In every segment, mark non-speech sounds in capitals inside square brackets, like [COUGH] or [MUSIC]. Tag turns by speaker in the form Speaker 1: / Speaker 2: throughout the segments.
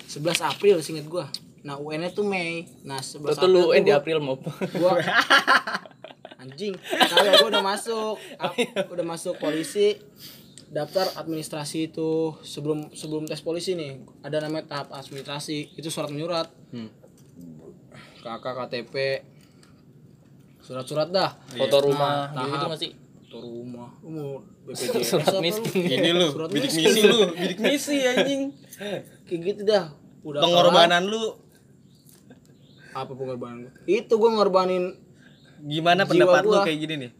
Speaker 1: 11 April seinget gua. Nah, UN-nya tuh Mei. Nah, 11
Speaker 2: Tuh lu
Speaker 1: tuh
Speaker 2: UN
Speaker 1: gua-
Speaker 2: di
Speaker 1: Iya.
Speaker 2: April mau
Speaker 1: gua [LAUGHS] anjing kagak gua udah masuk Ap- udah masuk polisi daftar administrasi itu sebelum sebelum tes polisi nih ada namanya tahap administrasi itu surat menyurat
Speaker 2: Hmm.
Speaker 1: KK KTP surat-surat dah
Speaker 2: foto rumah
Speaker 1: Nah,
Speaker 2: gitu
Speaker 1: tahap.
Speaker 2: nggak sih?
Speaker 1: Foto
Speaker 2: [LAUGHS]
Speaker 1: rumah umur BPJS
Speaker 2: Surat
Speaker 1: apa lu?
Speaker 2: miskin.
Speaker 3: Ini lu,
Speaker 1: Surat
Speaker 3: bidik
Speaker 1: miskin.
Speaker 3: misi lu, bidik misi anjing.
Speaker 1: kayak gitu dah udah
Speaker 3: Pengorbanan lu
Speaker 1: kelar. apa pengorbanan gua? itu gua ngorbanin
Speaker 3: gimana
Speaker 1: Jiwa
Speaker 3: pendapat lu
Speaker 1: gua.
Speaker 3: kayak gini nih?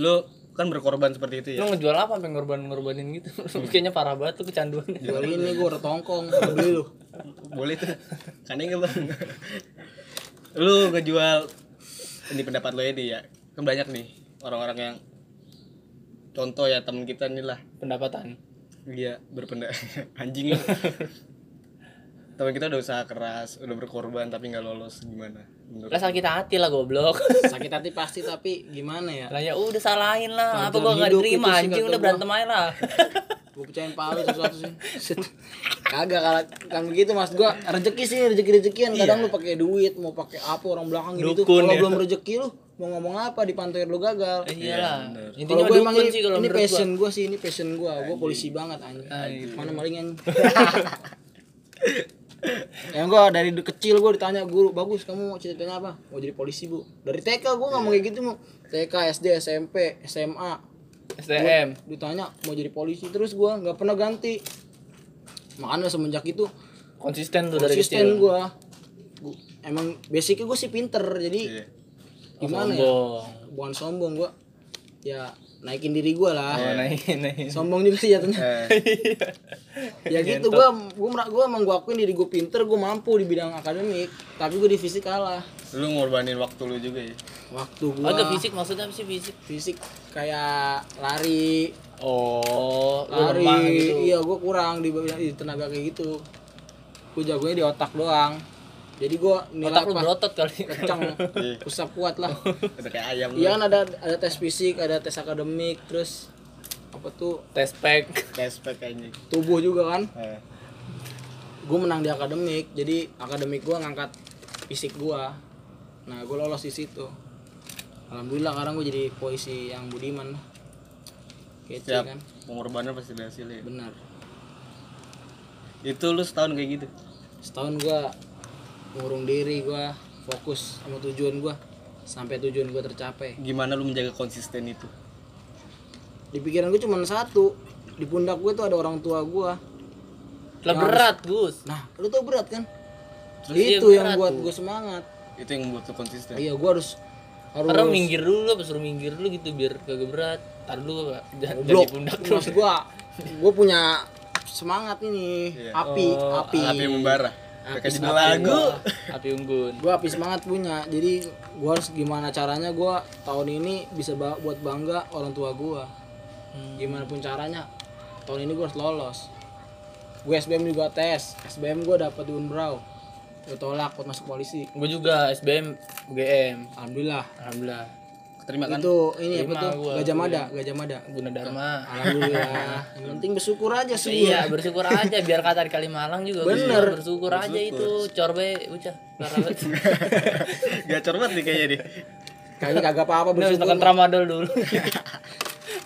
Speaker 3: Lu kan berkorban seperti itu ya.
Speaker 2: Lu ngejual apa sampai ngorban-ngorbanin gitu? [LAUGHS] Kayaknya parah banget tuh kecanduan. [LAUGHS]
Speaker 1: jual ini gua retongkong Gua beli lu
Speaker 3: Boleh tuh. Kan enggak Bang. lu ngejual ini pendapat lu ya Di, ya. Kan banyak nih orang-orang yang contoh ya temen kita nih lah
Speaker 2: Pendapatan.
Speaker 3: dia berpendak [LAUGHS] anjing lu. temen kita udah usaha keras udah berkorban tapi nggak lolos gimana menurut
Speaker 2: Lah sakit hati lah goblok. [LAUGHS]
Speaker 1: sakit hati pasti tapi gimana ya
Speaker 2: Lah ya udah salahin lah. Apa
Speaker 1: Pelajaran
Speaker 2: gua enggak
Speaker 1: hidup itu
Speaker 2: diterima
Speaker 1: sih
Speaker 2: anjing
Speaker 1: kata
Speaker 2: udah
Speaker 1: gua.
Speaker 2: berantem aja
Speaker 1: [LAUGHS]
Speaker 2: lah.
Speaker 1: gue pecahin palu sesuatu sih Set. kagak kalau kan begitu mas gua rezeki sih rezeki rezekian kadang lu pakai duit mau pakai apa orang belakang gitu
Speaker 2: Dukun
Speaker 1: kalau
Speaker 2: ya. Eh,
Speaker 1: belum rezeki lu mau ngomong apa di pantai lu gagal
Speaker 2: Iyalah. Iya Intinya
Speaker 1: Iya, kalau gue emang
Speaker 2: dukun
Speaker 1: ini,
Speaker 2: sih kalau
Speaker 1: ini
Speaker 2: menurut gua.
Speaker 1: passion gue sih ini passion gue gue polisi banget anjing mana malingan [LAUGHS] yang gue dari de- kecil gue ditanya guru bagus kamu mau cita-citanya apa mau jadi polisi bu dari TK gue nggak mau
Speaker 2: Iya.
Speaker 1: kayak gitu mau TK SD SMP SMA
Speaker 2: STM.
Speaker 1: ditanya mau jadi polisi terus gua nggak pernah ganti makanya semenjak itu
Speaker 2: Konsisten tuh dari
Speaker 1: konsisten
Speaker 2: kecil.
Speaker 1: gua Gu- emang basicnya gue sih pinter jadi
Speaker 3: Iya.
Speaker 1: gimana ya
Speaker 2: Sombong.
Speaker 1: bukan sombong gua ya naikin diri gua lah
Speaker 2: Oh, [LAUGHS] naikin naikin.
Speaker 1: sombong juga sih
Speaker 2: [LAUGHS] Iya,
Speaker 1: jatuhnya
Speaker 3: Eh,
Speaker 1: ya gitu gua gua mer- gua emang gua akuin diri gua pinter gua mampu di bidang akademik tapi gua di fisik kalah
Speaker 3: lu ngorbanin waktu lu juga ya
Speaker 1: waktu gua
Speaker 2: Agak fisik maksudnya apa sih fisik?
Speaker 1: fisik kayak lari
Speaker 2: Oh, lu
Speaker 1: lari
Speaker 2: lemah gitu.
Speaker 1: iya gue kurang di, di tenaga kayak gitu gue jagonya di otak doang jadi gue nilai
Speaker 2: Otak lu Iya.
Speaker 1: pas
Speaker 2: berotot kali. [LAUGHS]
Speaker 1: kencang usap kuat lah
Speaker 3: udah kayak ayam lu
Speaker 1: iya kan ada ada tes fisik ada tes akademik terus apa tuh
Speaker 2: Tes pack.
Speaker 3: respect anjing
Speaker 1: tubuh juga kan
Speaker 2: Iya
Speaker 3: Eh,
Speaker 1: gue menang di akademik jadi akademik gue ngangkat fisik gue nah gue lolos di situ alhamdulillah sekarang gue jadi polisi yang budiman kece
Speaker 3: Siap.
Speaker 1: kan
Speaker 3: pengorbanan pasti berhasil ya
Speaker 1: benar
Speaker 3: itu lu setahun kayak gitu
Speaker 1: setahun gua ngurung diri gua fokus sama tujuan gua sampai tujuan gua tercapai
Speaker 3: gimana lu menjaga konsisten itu
Speaker 1: di pikiran gua cuma satu di pundak gua tuh ada orang tua gua
Speaker 2: Lah berat, Gus.
Speaker 1: nah lu tau berat kan
Speaker 2: Terus iya,
Speaker 1: itu yang
Speaker 2: berat
Speaker 1: buat gua semangat
Speaker 3: itu yang membuat lu konsisten
Speaker 1: iya gua harus harus
Speaker 2: Orang minggir dulu apa suruh minggir dulu gitu biar kagak berat. Tar dulu Pak. [LAUGHS] Jangan jadi
Speaker 1: blok
Speaker 2: pundak dulu.
Speaker 1: maksud gua gua punya semangat ini api api
Speaker 3: Iya. api
Speaker 2: Iya.
Speaker 3: membara [LAUGHS] kayak judul lagu
Speaker 1: gua.
Speaker 2: Api unggun.
Speaker 1: gue api semangat punya jadi gue harus gimana caranya gue tahun ini bisa ba- buat bangga orang tua gue gimana pun caranya tahun ini gue harus lolos gue SBM juga tes SBM gue dapet di Unbrau gue tolak buat masuk polisi
Speaker 2: Gue juga SBM UGM.
Speaker 1: alhamdulillah
Speaker 2: Alhamdulillah.
Speaker 3: terima kan
Speaker 1: itu ini apa
Speaker 2: Terima
Speaker 1: tuh
Speaker 2: gua,
Speaker 1: gajah mada gajah mada
Speaker 2: Gunadarma.
Speaker 1: alhamdulillah yang penting bersyukur aja sih
Speaker 2: Iya, bersyukur aja biar kata di Kalimalang juga
Speaker 1: Bener.
Speaker 2: gitu. bersyukur, aja itu. Corbe ucah. Parah banget.
Speaker 3: gacor banget nih kayaknya deh
Speaker 1: kayaknya kagak apa-apa
Speaker 2: Udah harus
Speaker 1: bersyukur
Speaker 2: tekan tramadol dulu.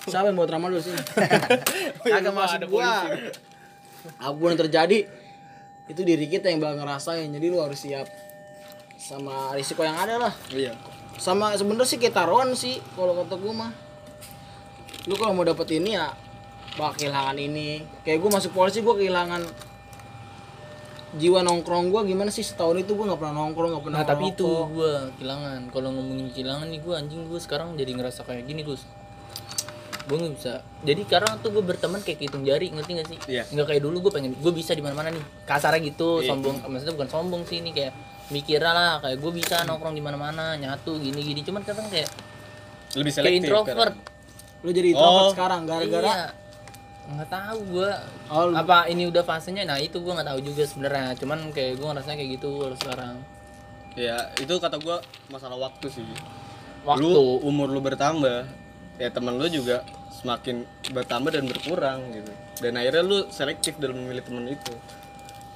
Speaker 1: siapa yang bawa tramadol
Speaker 2: [LAUGHS]
Speaker 1: sih
Speaker 2: Iya,
Speaker 1: kagak masuk gua apapun yang terjadi itu diri kita yang bakal ngerasain jadi lu harus siap sama risiko yang ada lah
Speaker 3: iya
Speaker 1: sama sebenernya sih kayak taruhan sih kalau kata gua mah lu kalau mau dapet ini ya bakal kehilangan ini kayak gua masuk polisi gua kehilangan jiwa nongkrong gua gimana sih setahun itu gua nggak pernah nongkrong nggak pernah
Speaker 2: Nah, tapi itu
Speaker 1: ngerokok.
Speaker 2: gua kehilangan. Kalau ngomongin kehilangan nih gua anjing gua sekarang jadi ngerasa kayak gini, Gus. Gua nggak bisa. Jadi sekarang tuh gua berteman kayak hitung jari, ngerti gak sih?
Speaker 3: Iya.
Speaker 2: Nggak kayak dulu gua pengen gua bisa di mana-mana nih. Kasarnya gitu, sombong. Maksudnya bukan sombong sih ini kayak mikirnya lah kayak gua bisa nongkrong di mana-mana, nyatu gini-gini. Cuman kadang kayak
Speaker 3: lebih
Speaker 2: kayak
Speaker 3: selektif
Speaker 2: introvert.
Speaker 1: lu jadi introvert
Speaker 3: Oh.
Speaker 1: sekarang gara-gara
Speaker 2: Iya. nggak tahu gua
Speaker 1: Oh, lu-
Speaker 2: apa ini udah fasenya nah itu gua nggak tahu juga sebenarnya cuman kayak gua ngerasanya kayak gitu kalau sekarang
Speaker 3: ya itu kata gua masalah waktu sih
Speaker 2: Waktu.
Speaker 3: lu umur lu bertambah ya teman lu juga semakin bertambah dan berkurang gitu dan akhirnya lu selektif dalam memilih teman itu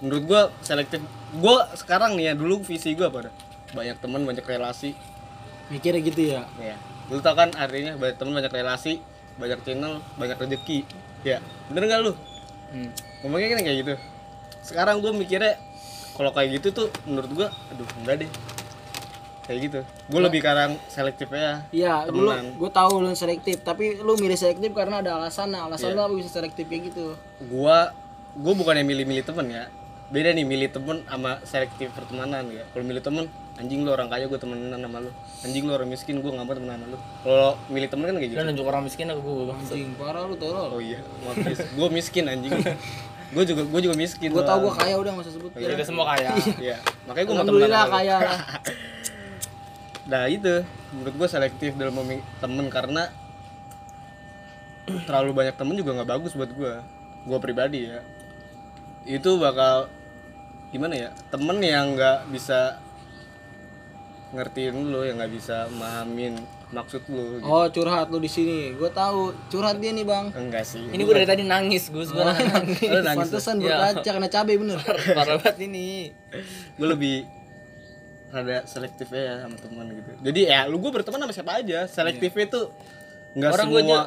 Speaker 3: menurut gua selektif gua sekarang nih ya dulu visi gua apa dah? banyak teman banyak relasi
Speaker 1: mikirnya gitu ya
Speaker 3: ya lu tau kan artinya banyak teman banyak relasi banyak channel banyak rezeki ya bener nggak lu
Speaker 2: Hmm.
Speaker 3: ngomongnya kan kayak gitu sekarang gua mikirnya kalau kayak gitu tuh menurut gua aduh enggak deh kayak gitu gua lebih karang selektif ya
Speaker 1: Iya, dulu
Speaker 3: Temenan.
Speaker 1: gue tahu lu selektif, tapi lu milih selektif karena ada alasan. Nah, alasan
Speaker 3: Iya.
Speaker 1: lu apa bisa selektif kayak gitu?
Speaker 3: gua gua bukan yang milih-milih temen ya beda nih milih temen sama selektif pertemanan ya kalau milih temen anjing lu orang kaya gue temenan sama lu anjing lu orang miskin gue nggak mau temenan sama lu kalau milih temen kan kayak gitu
Speaker 2: Lu nunjuk orang miskin ke gue bang.
Speaker 1: Anjing, parah lu tolol.
Speaker 3: oh iya maaf guys gue miskin anjing gue juga gue juga miskin
Speaker 1: Gue tahu gue kaya udah nggak usah sebut.
Speaker 2: Kita semua kaya.
Speaker 3: iya makanya gue mau temenan
Speaker 1: Alhamdulillah
Speaker 3: sama lu
Speaker 1: kaya lah.
Speaker 3: nah itu menurut gue selektif dalam memilih temen karena terlalu banyak temen juga nggak bagus buat gue gue pribadi ya itu bakal gimana ya temen yang nggak bisa ngertiin lo yang nggak bisa memahamin maksud lo gitu.
Speaker 1: Oh curhat lu di sini, gue tahu curhat dia nih bang.
Speaker 3: enggak sih
Speaker 2: Ini gue dari tadi nangis gue
Speaker 1: [LAUGHS]
Speaker 2: sebenarnya nangis.
Speaker 3: [LAUGHS] Lu nangis
Speaker 1: Pantesan gue kaca kena cabai bener.
Speaker 2: Parah banget ini.
Speaker 3: gue lebih rada selektif ya sama teman gitu jadi ya lu gue berteman sama siapa aja selektifnya tuh nggak
Speaker 2: Orang
Speaker 3: semua
Speaker 2: gua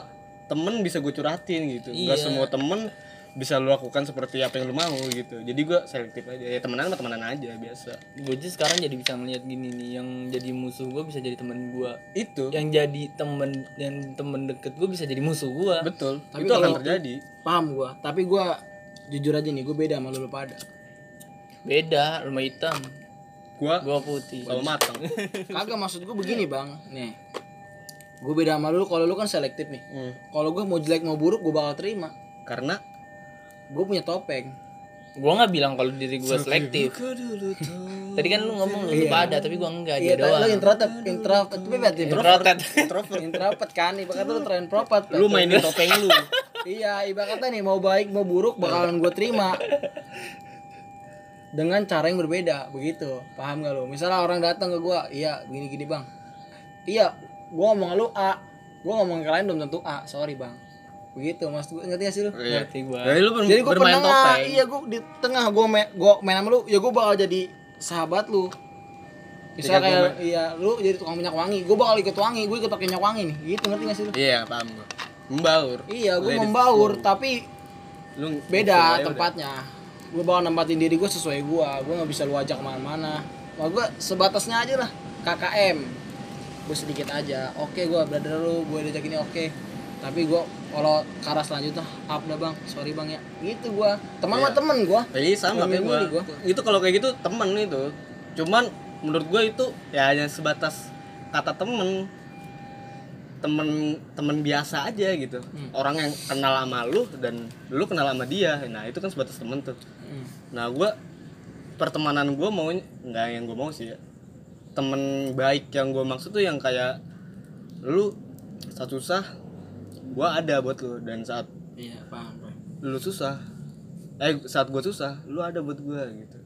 Speaker 3: temen bisa gue curhatin gitu nggak
Speaker 2: Iya.
Speaker 3: semua temen bisa lu lakukan seperti apa yang lu mau gitu jadi gue selektif aja ya temenan sama temenan aja biasa
Speaker 2: Gue aja sekarang jadi bisa melihat gini nih yang jadi musuh gue bisa jadi temen gue.
Speaker 3: itu
Speaker 2: Yang jadi temen yang temen deket gue bisa jadi musuh gue.
Speaker 3: betul
Speaker 1: Tapi
Speaker 3: itu akan
Speaker 1: kalau-
Speaker 3: terjadi
Speaker 1: Paham gue, tapi gue jujur aja nih, gue beda sama lu lu pada.
Speaker 2: Beda, lu mah hitam,
Speaker 3: gue
Speaker 2: gue putih.
Speaker 3: kalau matang
Speaker 1: Kagak maksud gue begini bang, nih. Gue beda sama lu, kalau lu kan selektif nih.
Speaker 3: Hmm.
Speaker 1: Kalau gue mau jelek mau buruk, gue bakal terima.
Speaker 3: karena
Speaker 1: Gue punya topeng.
Speaker 2: Gue nggak bilang kalau diri gue selektif. Tadi kan lu ngomong lu pada, tapi gue enggak Eh, dia
Speaker 1: Iya, tadi lu
Speaker 2: doang.
Speaker 1: introvert, introvert, tapi berarti introvert.
Speaker 2: Rotet.
Speaker 3: introvert
Speaker 1: Introvert kan, ibaratnya lu terintrovert.
Speaker 3: lu mainin topeng lu
Speaker 1: Iya, ibaratnya nih mau baik mau buruk bakalan gue terima dengan cara yang berbeda, begitu. Paham gak lu? Misalnya orang datang ke gue, iya gini-gini bang. Iya, gue ngomong ke lu A, gue ngomong ke lain belum tentu A, sorry bang. Begitu, mas gue ngerti gak sih lu?
Speaker 2: Ngerti gue.
Speaker 3: jadi ya, lu
Speaker 1: Jadi gue
Speaker 3: bermain
Speaker 1: penengah,
Speaker 3: topeng
Speaker 1: iya gue di tengah gue main, gue main sama lu, ya gue bakal jadi sahabat lu. Misalnya
Speaker 3: Jadi gua
Speaker 1: kayak, iya lu jadi tukang minyak wangi, gue bakal ikut wangi, gue ikut pakai minyak wangi nih, gitu ngerti gak sih lu?
Speaker 3: iya paham gue membaur
Speaker 1: Iya, gue
Speaker 3: Ladies
Speaker 1: membaur, tapi
Speaker 3: lu
Speaker 1: beda
Speaker 3: aja udah.
Speaker 1: tempatnya gue bakal nempatin diri gue sesuai gue gue nggak bisa lu ajak kemana-mana Wah gue sebatasnya aja lah KKM gue sedikit aja oke gue brother lu gue diajak ini oke tapi gue kalau ke arah selanjutnya up dah bang sorry bang ya gitu gue teman mah
Speaker 3: Iya.
Speaker 1: temen gue
Speaker 3: Iya sama kayak
Speaker 1: Milih-milih
Speaker 3: gua.
Speaker 1: gua.
Speaker 3: Itu kalau kayak gitu temen itu. Cuman menurut gua itu ya hanya sebatas kata temen temen temen biasa aja gitu orang yang kenal sama lu dan lu kenal sama dia nah itu kan sebatas temen tuh
Speaker 1: Hmm.
Speaker 3: nah gua pertemanan gua mau nggak yang gua mau sih ya temen baik yang gua maksud tuh yang kayak lu saat susah gua ada buat lu dan saat
Speaker 1: iya paham paham.
Speaker 3: lu susah eh saat gue susah lu ada buat gue gitu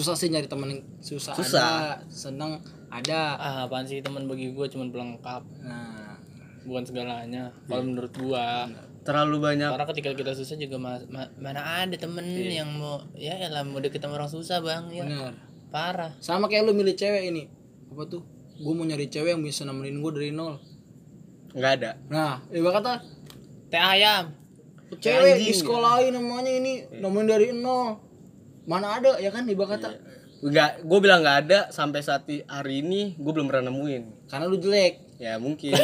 Speaker 1: susah sih nyari temen yang susah,
Speaker 3: Susah.
Speaker 1: ada seneng ada
Speaker 2: Ah, apaan sih teman bagi gue cuman pelengkap,
Speaker 1: nah
Speaker 2: bukan segalanya. Kalau menurut gua
Speaker 3: terlalu banyak
Speaker 2: Karena ketika kita susah juga ma- ma- mana ada temen yang mau ya elah mau deket sama orang susah bang ya
Speaker 1: bener
Speaker 2: parah.
Speaker 1: Iya. sama kayak lu milih cewek ini apa tuh gue mau nyari cewek yang bisa nemenin gue dari nol
Speaker 3: nggak ada
Speaker 1: nah ibaratnya
Speaker 2: Teh ayam.
Speaker 1: cewek di sekolah
Speaker 3: ya.
Speaker 1: lain namanya ini
Speaker 3: Iya.
Speaker 1: nemuin dari nol mana ada ya kan iba kata
Speaker 3: nggak gue bilang nggak ada sampai saat i- hari ini gue belum pernah nemuin
Speaker 1: karena lu jelek
Speaker 3: ya mungkin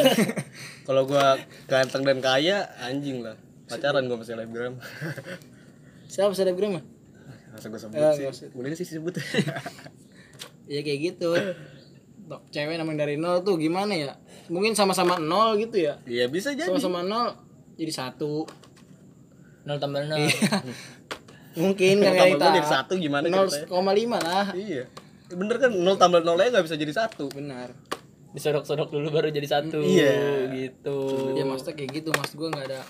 Speaker 3: kalau gue ganteng dan kaya anjing lah pacaran gue masih selebgram [LAUGHS]
Speaker 1: siapa selebgram ya
Speaker 3: masa gue sebut sih boleh sih sebut
Speaker 1: ya kayak
Speaker 3: [COUGHS]
Speaker 1: gitu Tuh, cewek nemuin dari nol tuh gimana ya mungkin sama-sama nol gitu ya
Speaker 3: ya bisa jadi
Speaker 1: sama-sama nol jadi satu
Speaker 2: Nol tambah
Speaker 1: Iya.
Speaker 2: nol.
Speaker 1: mungkin
Speaker 3: nol
Speaker 1: kan kita
Speaker 3: tambah nol Hmm. jadi satu gimana
Speaker 1: nol
Speaker 3: ceritanya
Speaker 1: koma lima lah
Speaker 3: iya bener kan nol tambah nolnya nggak bisa jadi satu
Speaker 1: benar
Speaker 2: Disodok-sodok dulu baru jadi satu.
Speaker 3: Iya.
Speaker 2: Gitu.
Speaker 1: ya maksudnya kayak gitu mas gue nggak ada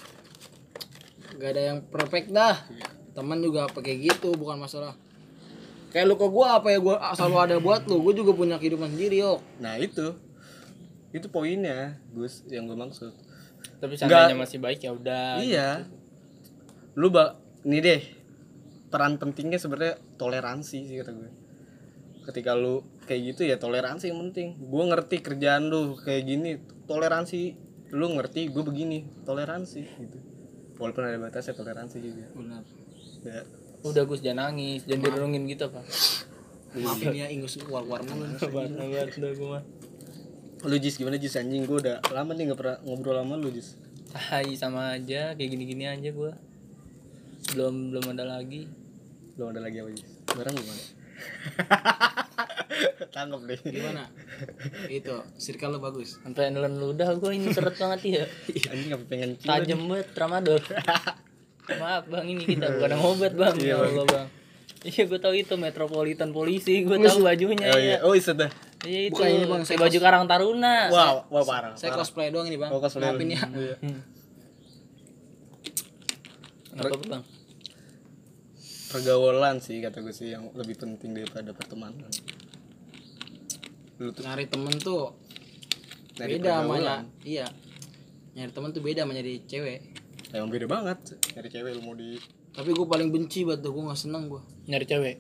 Speaker 1: nggak ada yang perfect dah teman juga apa kayak gitu bukan masalah kayak lu ke gue apa ya gue selalu ada buat lu gue juga punya kehidupan sendiri yok
Speaker 3: nah itu itu poinnya gus yang gue maksud
Speaker 2: Tapi seandainya masih baik ya udah.
Speaker 3: Iya. Lu bak nih deh. peran pentingnya sebenarnya toleransi sih kata gue ketika lu kayak gitu ya toleransi yang penting gue ngerti kerjaan lu kayak gini toleransi lu ngerti gue begini toleransi gitu walaupun ada batasnya toleransi juga
Speaker 1: benar
Speaker 3: ya
Speaker 2: udah Gus jangan nangis jangan dirungin gitu apa
Speaker 1: maafin ya ingus keluar keluar mulu
Speaker 2: banget udah gue mah
Speaker 3: lu Jis gimana Jis anjing gue udah lama nih nggak pernah ngobrol sama lu Jis
Speaker 2: tai sama aja kayak gini-gini aja gua belum belum ada lagi
Speaker 3: lu ada lagi apa Jis barang [LAUGHS] gimana tangkap deh
Speaker 1: gimana itu circle lo bagus
Speaker 2: sampai nelen ludah gua ini seret banget ya
Speaker 3: anjing apa pengen kill
Speaker 2: tajam banget tramadol maaf bang ini kita bukan yang obat bang ya Allah bang iya gua tahu itu metropolitan polisi gua tahu bajunya iya
Speaker 3: oh iya oh iya sudah
Speaker 2: iya itu
Speaker 1: Bukan ini, Bang,
Speaker 2: kayak baju karang taruna
Speaker 3: wow wow parah
Speaker 1: saya
Speaker 3: parah.
Speaker 1: cosplay doang ini bang
Speaker 3: Oh, cosplay
Speaker 1: maafin ya
Speaker 3: Iya.
Speaker 2: apa bang
Speaker 3: pergaulan sih kata gue sih yang lebih penting daripada pertemanan lu tuh
Speaker 1: nyari temen tuh
Speaker 3: Dari
Speaker 1: beda sama
Speaker 3: pergaulan.
Speaker 1: ny- iya nyari temen tuh beda sama nyari cewek
Speaker 3: emang beda banget nyari cewek lu mau di
Speaker 1: tapi gue paling benci banget tuh gue nggak seneng gue
Speaker 2: nyari cewek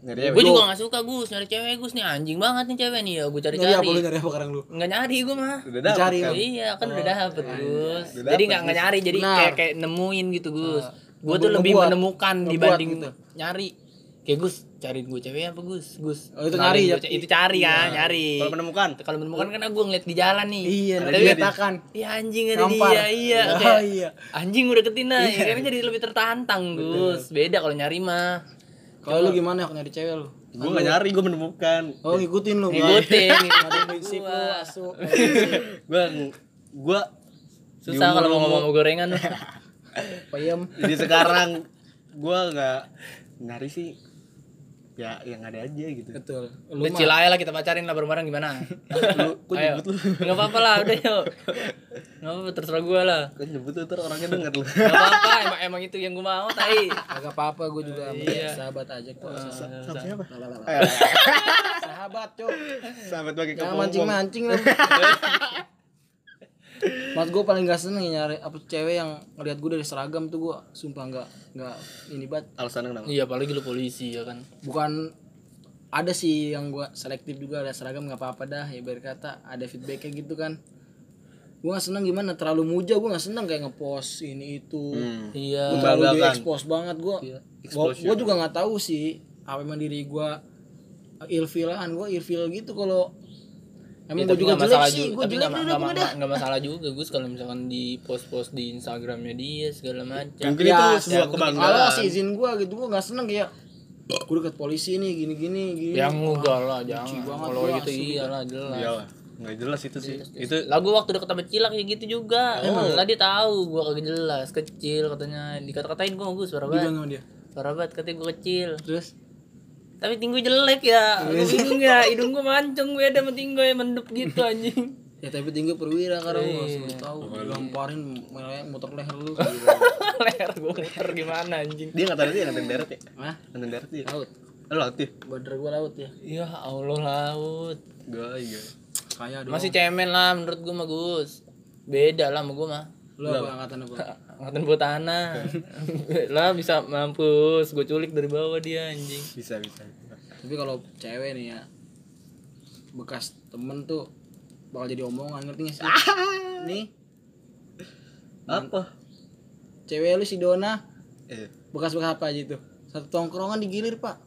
Speaker 3: nyari
Speaker 2: gua
Speaker 3: cewek
Speaker 2: juga gak suka gus nyari cewek gus nih anjing banget nih cewek nih ya gua
Speaker 1: nyari apa lu
Speaker 2: cari-cari
Speaker 1: nyari apa sekarang lu
Speaker 2: nggak nyari gua mah
Speaker 3: udah dapet
Speaker 1: Cari
Speaker 3: kan?
Speaker 1: lu.
Speaker 2: Iya kan
Speaker 1: Oh,
Speaker 2: udah dapet Gus.
Speaker 3: Udah
Speaker 2: Jadi
Speaker 3: dapet,
Speaker 2: nggak nggak nyari jadi
Speaker 1: Benar.
Speaker 2: kayak kayak nemuin gitu Gus. Gue tuh
Speaker 1: Ngebu-
Speaker 2: lebih
Speaker 1: ngebuat.
Speaker 2: menemukan
Speaker 1: Ngebuat
Speaker 2: dibanding
Speaker 1: gitu.
Speaker 2: nyari. Kayak Gus cariin gue cewek apa Gus? Gus.
Speaker 1: Oh, itu
Speaker 2: kenalin
Speaker 1: nyari
Speaker 2: gua
Speaker 1: ya?
Speaker 2: ce- Itu cari kan nyari.
Speaker 3: kalau menemukan
Speaker 2: Kalau menemukan kan gue ngeliat di jalan nih.
Speaker 1: ada
Speaker 2: Tapi-
Speaker 1: dipetakan.
Speaker 2: Iya anjing ada
Speaker 1: Iya. ya? Nampar.
Speaker 2: dia iya.
Speaker 1: Oh,
Speaker 2: Kayak,
Speaker 1: iya.
Speaker 2: Anjing udah ketina ya kan jadi lebih tertantang Gus. Beda kalau nyari mah.
Speaker 1: kalau lu gimana kalau nyari cewek lu
Speaker 3: gue gak nyari gue menemukan
Speaker 1: oh ngikutin lu
Speaker 2: Ngikutin.
Speaker 1: ada prinsip lu
Speaker 2: Gua.
Speaker 1: asu
Speaker 3: gue gue
Speaker 2: Susah kalau mau ngomong
Speaker 1: [LAUGHS]
Speaker 2: gorengan.
Speaker 1: payem
Speaker 3: jadi sekarang gue nggak nyari sih ya yang ada aja gitu
Speaker 1: betul lu
Speaker 2: Kecil aja lah kita pacarin lah bareng-bareng gimana?
Speaker 3: lu kok
Speaker 2: Ayo.
Speaker 3: nyebut lu
Speaker 2: Nggak apa-apa lah, udah yuk. Nggak apa-apa, terserah gue lah.
Speaker 3: kan nyebut lu ntar orangnya denger
Speaker 1: [LAUGHS]
Speaker 3: lu
Speaker 2: Nggak apa-apa, emang, emang itu yang gue mau, tai.
Speaker 1: agak apa apa gue juga
Speaker 2: Iya.
Speaker 1: menjadi sahabat aja kok
Speaker 3: sama siapa
Speaker 1: Lah, lah, lah, lah.
Speaker 3: Ayo, ayo.
Speaker 1: sahabat cok
Speaker 3: sahabat bagi
Speaker 1: jangan
Speaker 3: kepompong
Speaker 1: mancing mancing
Speaker 2: [LAUGHS]
Speaker 1: lu Mas gue paling gak seneng ya nyari apa cewek yang ngeliat gue dari seragam tuh gue sumpah nggak nggak ini banget
Speaker 3: alasan kenapa
Speaker 2: Iya, apalagi lu polisi ya kan.
Speaker 1: bukan ada sih yang gua selektif juga ada seragam nggak apa-apa dah ya biar kata ada feedbacknya gitu kan gua nggak seneng gimana terlalu muja gua nggak seneng kayak ngepost ini itu
Speaker 3: hmm.
Speaker 1: Gua
Speaker 2: Iya.
Speaker 1: terlalu di
Speaker 3: Membanggakan.
Speaker 1: expose banget gua gua, gua juga nggak tahu sih apa emang diri gua ilfilan gua ilfil gitu kalau emang gua
Speaker 2: Ya, tapi
Speaker 1: juga
Speaker 2: nggak
Speaker 1: jelek
Speaker 2: masalah
Speaker 1: sih
Speaker 2: juga,
Speaker 1: gua jelek
Speaker 2: tapi nggak-
Speaker 1: deh
Speaker 2: nggak-
Speaker 1: gua dah
Speaker 2: nggak- nggak masalah juga Gus kalau misalkan di post-post di Instagramnya dia segala macam.
Speaker 3: mungkin itu sebuah
Speaker 1: kalau
Speaker 3: kebanggaan
Speaker 1: sih izin gua gitu gua nggak seneng kayak gua dekat polisi nih gini gini gini
Speaker 2: Yang Ya, enggak lah, jangan.
Speaker 1: banget
Speaker 2: Kalau
Speaker 1: gua,
Speaker 2: gitu
Speaker 1: asli
Speaker 2: iyalah jelas.
Speaker 3: Iya lah, nggak jelas itu
Speaker 1: Iya,
Speaker 3: sih. Itu
Speaker 2: Lah gua waktu deket sama Cilak ya gitu juga. Lah dia tahu gua kagak jelas, kecil katanya. Dikata-katain gua Gus parah banget.
Speaker 1: Bilang sama dia
Speaker 2: Parah banget katanya gua kecil.
Speaker 1: terus
Speaker 2: Tapi tinggu jelek ya. Lu bingung ya, hidung gua mancung beda sama tinggu ya mendep gitu anjing.
Speaker 1: Ya tapi tinggi perwira karena gua nggak tahu
Speaker 2: Iya.
Speaker 1: dilamparin melek muter leher lu.
Speaker 2: [LAUGHS] Leher gua muter gimana anjing.
Speaker 3: dia nggak tahu dia ngantin darat ya.
Speaker 1: Hah?
Speaker 3: Ngantin darat dia.
Speaker 1: Laut.
Speaker 3: Eh, Laut ya.
Speaker 1: Bader gua laut ya.
Speaker 2: Ya Allah laut.
Speaker 3: Gua iya.
Speaker 1: Kaya dong.
Speaker 2: Masih cemen lah menurut gua mah Gus. Beda lah sama gua mah.
Speaker 1: Lu apa angkatan apa?
Speaker 2: Angkatan buat tanah. lah bisa mampus, gua culik dari bawah dia anjing.
Speaker 3: Bisa bisa.
Speaker 1: tapi kalau cewek nih ya bekas temen tuh bakal jadi omongan ngerti gak sih? Nih,
Speaker 3: Apa?
Speaker 1: cewek lu si Dona
Speaker 3: Eh,
Speaker 1: bekas-bekas apa aja itu? Satu tongkrongan digilir, Pak.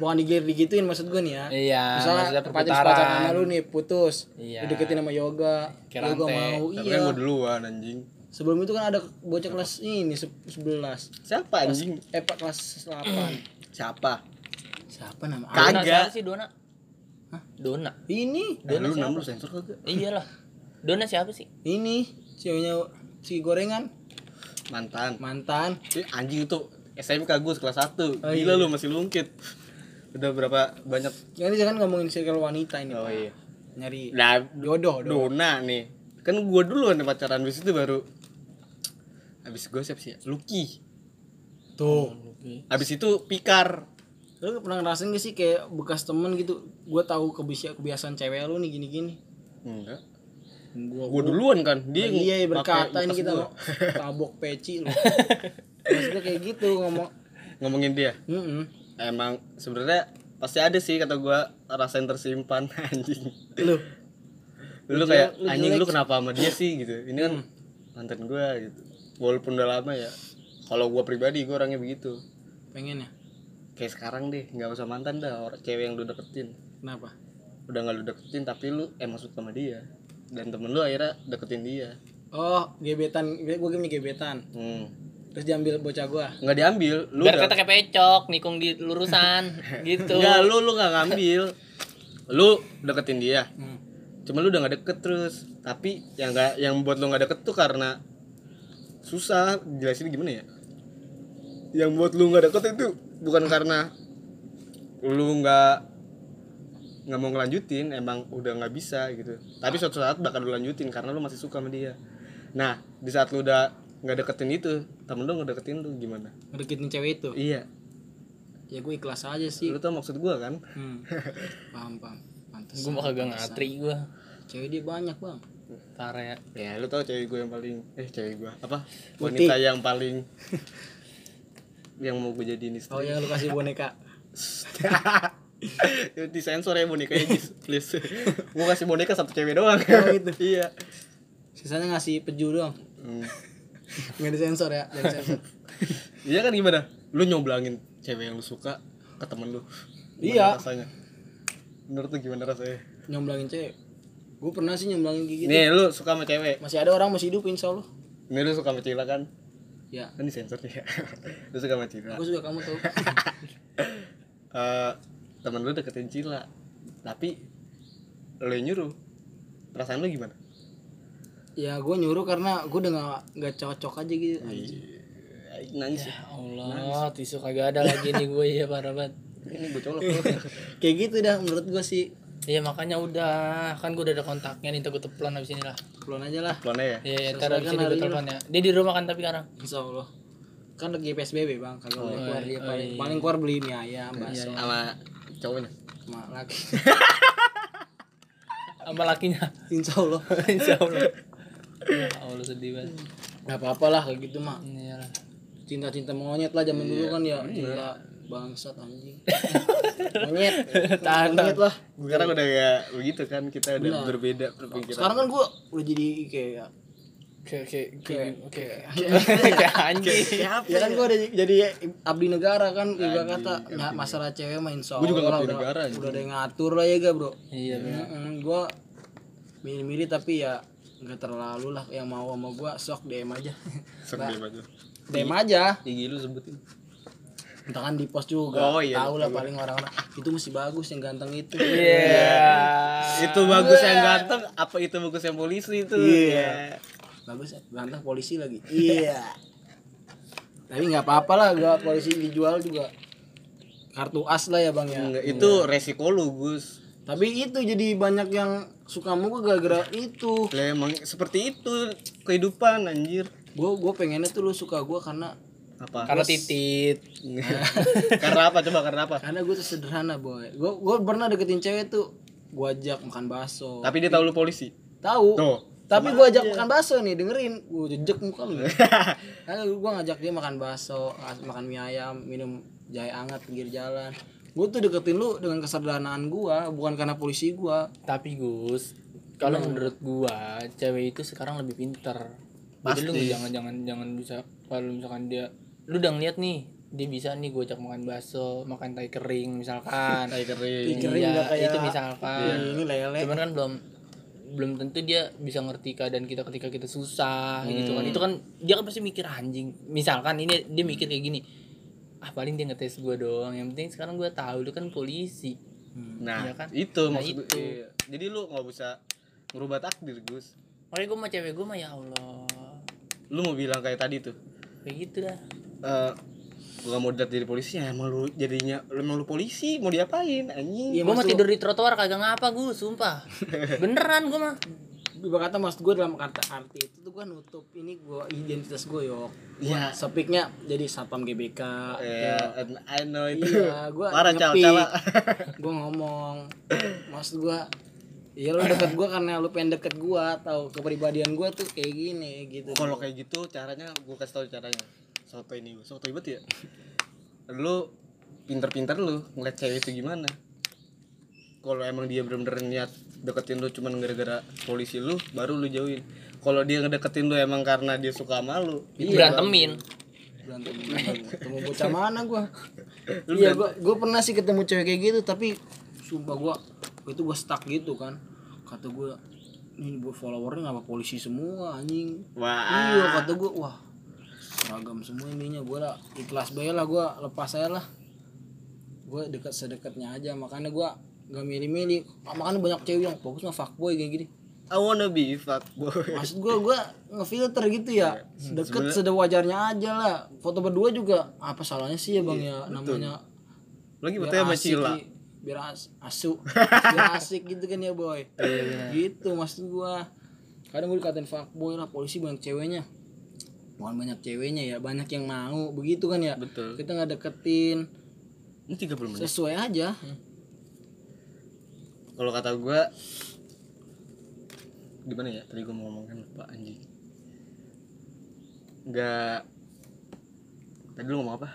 Speaker 1: Bukan digilir digituin maksud gua nih ya.
Speaker 2: Iya, maksudnya
Speaker 1: Misalnya pacar
Speaker 2: perputaran.
Speaker 1: pacar sama lu nih putus,
Speaker 2: Iya.
Speaker 1: dideketin sama yoga,
Speaker 2: Kayak
Speaker 1: yoga
Speaker 2: rantai. kan
Speaker 1: mau
Speaker 3: tapi kan
Speaker 1: iya.
Speaker 3: gua duluan anjing.
Speaker 1: Sebelum itu kan ada bocah kelas ini se- 11.
Speaker 3: Siapa anjing?
Speaker 1: eh pak kelas 8
Speaker 3: Siapa?
Speaker 1: siapa nama
Speaker 3: Kagak.
Speaker 2: Dona, siapa sih Dona? Hah? Dona.
Speaker 1: ini
Speaker 3: Eh, lu enam lu sensor kagak?
Speaker 2: Iyalah. Dona siapa sih?
Speaker 1: ini ceweknya si gorengan
Speaker 3: Mantan.
Speaker 1: mantan
Speaker 3: Eh, anjing itu SMK gue kelas 1 Gila lu masih lungkit. Udah berapa banyak?
Speaker 1: ini jangan ngomongin circle wanita ini
Speaker 3: Oh
Speaker 1: Pak.
Speaker 3: iya.
Speaker 1: nyari
Speaker 3: Nah,
Speaker 1: jodoh dong
Speaker 3: Dona nih. Kan gua duluan yang pacaran habis itu baru habis gua siapa sih? ya? Lucky.
Speaker 1: tuh
Speaker 3: Habis itu Pikar.
Speaker 1: lu pernah ngerasain gak sih kayak bekas temen gitu gua tahu kebiasaan kebiasaan cewek lu nih gini gini
Speaker 3: Enggak.
Speaker 1: gua
Speaker 3: Gua duluan kan. Dia yang
Speaker 1: iya
Speaker 3: pakai [LAUGHS]
Speaker 1: berkata ini
Speaker 3: bekas
Speaker 1: kita
Speaker 3: gua.
Speaker 1: mau tabok peci lu maksudnya kayak gitu ngomong
Speaker 3: ngomongin dia
Speaker 1: Mm-mm.
Speaker 3: emang sebenarnya pasti ada sih kata gua rasa yang tersimpan [LAUGHS] anjing
Speaker 1: Lu
Speaker 3: lu
Speaker 1: Lu jelek,
Speaker 3: kayak
Speaker 1: lu
Speaker 3: anjing
Speaker 1: jelek.
Speaker 3: lu kenapa sama dia sih gitu ini kan mantan gua gitu walaupun udah lama ya kalau gua pribadi gua orangnya begitu
Speaker 1: pengen ya?
Speaker 3: kayak sekarang deh nggak usah mantan dah orang cewek yang lu deketin
Speaker 1: Kenapa?
Speaker 3: udah nggak lu deketin tapi lu emang suka sama dia dan temen lu akhirnya deketin dia
Speaker 1: Oh, gebetan, gue gue punya gebetan.
Speaker 3: hmm.
Speaker 1: Terus diambil bocah gua.
Speaker 3: nggak diambil lu
Speaker 2: Biar
Speaker 3: udah
Speaker 2: kata kayak pecok, nikung di [LAUGHS] lurusan gitu.
Speaker 3: nggak lu lu nggak ngambil lu deketin dia
Speaker 1: Hmm.
Speaker 3: cuma lu udah nggak deket terus tapi yang nggak yang buat lu nggak deket tuh karena susah jelasin gimana ya yang buat lu nggak deket itu bukan karena lu nggak nggak mau ngelanjutin emang udah nggak bisa gitu tapi suatu saat bakal lu lanjutin karena lu masih suka sama dia nah di saat lu udah nggak deketin itu temen lu ngedeketin lu gimana
Speaker 1: Ngedeketin cewek itu.
Speaker 3: iya
Speaker 1: Ya gue ikhlas aja sih.
Speaker 3: lu tau maksud gua kan
Speaker 1: Hmm. Paham, paham. Pantes.
Speaker 2: Gue bakal gak ngatri gue.
Speaker 1: Cewek dia banyak, Bang.
Speaker 2: Parah ya.
Speaker 3: ya lu tau cewek gue yang paling eh cewek gue apa
Speaker 1: Putih.
Speaker 3: wanita yang paling yang mau gue jadiin istri
Speaker 1: Oh,
Speaker 3: [LAUGHS]
Speaker 1: yang lu kasih boneka.
Speaker 3: di sensor ya
Speaker 1: [LAUGHS]
Speaker 3: bonekanya Jis, please gue kasih boneka satu cewek doang
Speaker 1: Oh, gitu.
Speaker 3: [LAUGHS] iya
Speaker 1: Sisanya ngasih peju doang.
Speaker 3: Hmm.
Speaker 1: Nggak disensor ya, nggak disensor.
Speaker 3: iya kan gimana lu nyoblangin cewek yang lu suka ke temen lu Gimana
Speaker 1: Iya.
Speaker 3: rasanya menurut lu gimana rasanya
Speaker 1: nyomblangin cewek. Gue pernah sih nyomblangin kayak gitu.
Speaker 3: nih lu suka sama cewek
Speaker 1: Masih ada orang masih hidup insya Allah.
Speaker 3: nih lu suka sama cila kan
Speaker 1: Ya,
Speaker 3: kan di sensor ya [LAUGHS] lu suka sama cila
Speaker 1: aku suka kamu
Speaker 3: [LAUGHS]
Speaker 1: tau.
Speaker 3: Eh, temen lu deketin Cila tapi lu yang nyuruh perasaan lu gimana
Speaker 1: ya gue nyuruh karena gue udah nggak nggak cocok aja gitu.
Speaker 3: Iya. Aik nangis ya.
Speaker 2: Allah, tisu kagak ada lagi nih gue ya parah banget.
Speaker 3: ini gue colok ya. [LAUGHS]
Speaker 1: Kayak gitu dah menurut gue sih.
Speaker 2: Iya makanya udah, kan gue udah ada kontaknya nih, ntar gue telepon abis ini lah.
Speaker 1: Pelan aja lah.
Speaker 3: Plone ya
Speaker 2: Iya, iya,
Speaker 1: Selesaikan
Speaker 2: ntar abis ini
Speaker 1: hari
Speaker 2: gue
Speaker 1: ini
Speaker 2: telepon ya. Dia di rumah kan tapi sekarang.
Speaker 1: Insya Allah. Kan lagi PSBB bang, kagak boleh
Speaker 2: Oh,
Speaker 1: keluar
Speaker 2: iya,
Speaker 1: dia
Speaker 2: oh,
Speaker 1: paling.
Speaker 2: iya.
Speaker 1: Paling keluar beli mie ayam,
Speaker 3: Ya,
Speaker 1: bakso,
Speaker 3: sama cowoknya
Speaker 1: sama lagi. [LAUGHS]
Speaker 2: Sama lakinya. [LAUGHS]
Speaker 1: Insya Allah.
Speaker 2: Insya Allah. Ya Allah sedih banget.
Speaker 1: Gak apa-apa lah kayak gitu mah.
Speaker 2: Iya lah.
Speaker 1: Cinta-cinta monyet lah zaman dulu kan ya. Cinta bangsat anjing. monyet.
Speaker 2: Tahan,
Speaker 1: monyet lah.
Speaker 3: sekarang udah gak begitu kan kita udah berbeda berpikiran
Speaker 1: Sekarang kan gue udah jadi kayak ya,
Speaker 2: Oke, oke, oke, oke. [LAUGHS]
Speaker 1: anjing ya kan gue udah jadi abdi negara kan juga kata nah, masalah cewek main soal
Speaker 3: Gua juga
Speaker 1: lah,
Speaker 3: abdi
Speaker 1: udah,
Speaker 3: negara, anjing.
Speaker 1: udah ada yang ngatur lah ya ga bro
Speaker 2: Iya, bener.
Speaker 1: gue milih-milih tapi ya nggak terlalu lah yang mau sama gue sok DM aja
Speaker 3: sedih banget
Speaker 1: DM aja
Speaker 3: gigi lu sebutin
Speaker 1: entah kan di post juga
Speaker 3: Oh, iya,
Speaker 1: tahu lah paling orang-orang itu mesti bagus yang ganteng itu
Speaker 2: Iya.
Speaker 3: itu bagus yang ganteng apa itu bagus yang polisi itu iya
Speaker 1: bagus ganteng polisi lagi iya [LAUGHS] tapi nggak apa-apa lah gak polisi dijual juga kartu as lah ya bang ya
Speaker 3: Enggak, itu resiko lu Gus
Speaker 1: Tapi itu jadi banyak yang suka sama gue gara-gara itu.
Speaker 3: Lah, emang seperti itu kehidupan anjir
Speaker 1: Gue gue pengennya tuh lu suka gue karena
Speaker 3: apa
Speaker 2: Karena titit.
Speaker 3: [LAUGHS] karena apa coba karena apa
Speaker 1: karena gue tuh sederhana boy. Gue gue pernah deketin cewek tuh gue ajak makan bakso.
Speaker 3: tapi dia tahu lu polisi
Speaker 1: Tahu.
Speaker 3: tuh
Speaker 1: Tapi gue ajak makan bakso nih dengerin gue jejek muka lu. Karena gue ngajak dia makan bakso, ngas- makan mie ayam, minum jahe anget pinggir jalan. Gue tuh deketin lu dengan kesederhanaan gue, bukan karena polisi gue.
Speaker 2: Tapi Gus, kalau menurut gua cewek itu sekarang lebih pinter. Jadi lu jangan jangan jangan bisa kalau misalkan dia lu udah ngeliat nih dia bisa nih gua ajak makan bakso, makan tai kering misalkan.
Speaker 3: tai kering
Speaker 1: Pikirin
Speaker 2: Iya,
Speaker 1: nggak kayak Iya.
Speaker 2: itu misalkan.
Speaker 1: ini lele.
Speaker 2: Cuman kan belum belum tentu dia bisa ngerti keadaan kita ketika kita susah gitu kan. Itu kan dia kan pasti mikir anjing. Misalkan ini dia mikir kayak gini. Ah paling dia ngetes gua doang. Yang penting sekarang gua tahu lu kan polisi.
Speaker 3: nah
Speaker 2: Iya kan?
Speaker 3: itu
Speaker 2: Nah,
Speaker 3: maksud
Speaker 2: itu.
Speaker 3: iya. jadi lu nggak bisa ngerubah takdir Gus
Speaker 2: Makanya gua sama cewek gua mah ya Allah.
Speaker 3: lu mau bilang kayak tadi tuh
Speaker 2: Kayak gitu dah.
Speaker 3: eh gua gak mau dilihat jadi polisi ya emang lu jadinya lu emang lu polisi mau diapain anjing
Speaker 1: Iya,
Speaker 2: gua mah
Speaker 1: maksud-
Speaker 2: tidur di trotoar kagak ngapa gua,
Speaker 1: [LAUGHS]
Speaker 2: sumpah. Beneran gua mah.
Speaker 1: Gue kata maksud gue dalam kata arti itu tuh gue nutup ini gue identitas gue yok.
Speaker 3: Iya.
Speaker 1: Sepiknya jadi satpam GBK.
Speaker 2: Iya.
Speaker 3: ya I know itu
Speaker 1: Iya, gue
Speaker 3: Parah, Cal,
Speaker 1: ngepi. [LAUGHS]
Speaker 3: Cal.
Speaker 1: Gue ngomong, maksud gue, ya lu deket gue karena lu pengen deket gue atau kepribadian gue tuh kayak gini gitu.
Speaker 3: kalau kayak gitu caranya gua kasih tau caranya soto ini gua soto banget ya lu pinter-pinter lu ngeliat cewek itu gimana kalau emang dia bener-bener niat deketin lu cuman gara-gara polisi lu baru lu jauhin kalau dia ngedeketin lu emang karena dia suka sama lu
Speaker 1: Iya,
Speaker 3: itu
Speaker 2: berantemin
Speaker 1: berantem ketemu bocah mana gua
Speaker 3: Lu
Speaker 1: iya gua gua pernah sih ketemu cewek kayak gitu tapi sumpah gua itu gua stuck gitu kan kata gua ini buat followernya ngapa polisi semua anjing
Speaker 3: wah
Speaker 1: iya kata gua wah seragam semua ininya gua lah ikhlas bayar lah gua lepas saya lah gua dekat sedekatnya aja makanya gua gak milih-milih makanya banyak cewek yang fokus nge fuckboy kayak gini
Speaker 3: I wanna be fuckboy
Speaker 1: maksud gue gue ngefilter gitu ya deket sedewajarnya aja lah foto berdua juga apa salahnya sih ya bang ya namanya
Speaker 3: lagi
Speaker 1: biar
Speaker 3: betulnya sama
Speaker 1: asik
Speaker 3: Cila
Speaker 1: i- biar as-
Speaker 3: [LAUGHS]
Speaker 1: asu biar asik gitu kan ya boy
Speaker 3: Iya.
Speaker 1: gitu maksud gue kadang gue dikatain fuckboy lah polisi banyak ceweknya bukan banyak ceweknya ya banyak yang mau begitu kan ya
Speaker 3: Betul.
Speaker 1: kita nggak deketin
Speaker 3: ini 30 menit
Speaker 1: sesuai aja
Speaker 3: kalau kata gua gimana ya tadi gua mau ngomong kan lupa anjing nggak tadi lu ngomong apa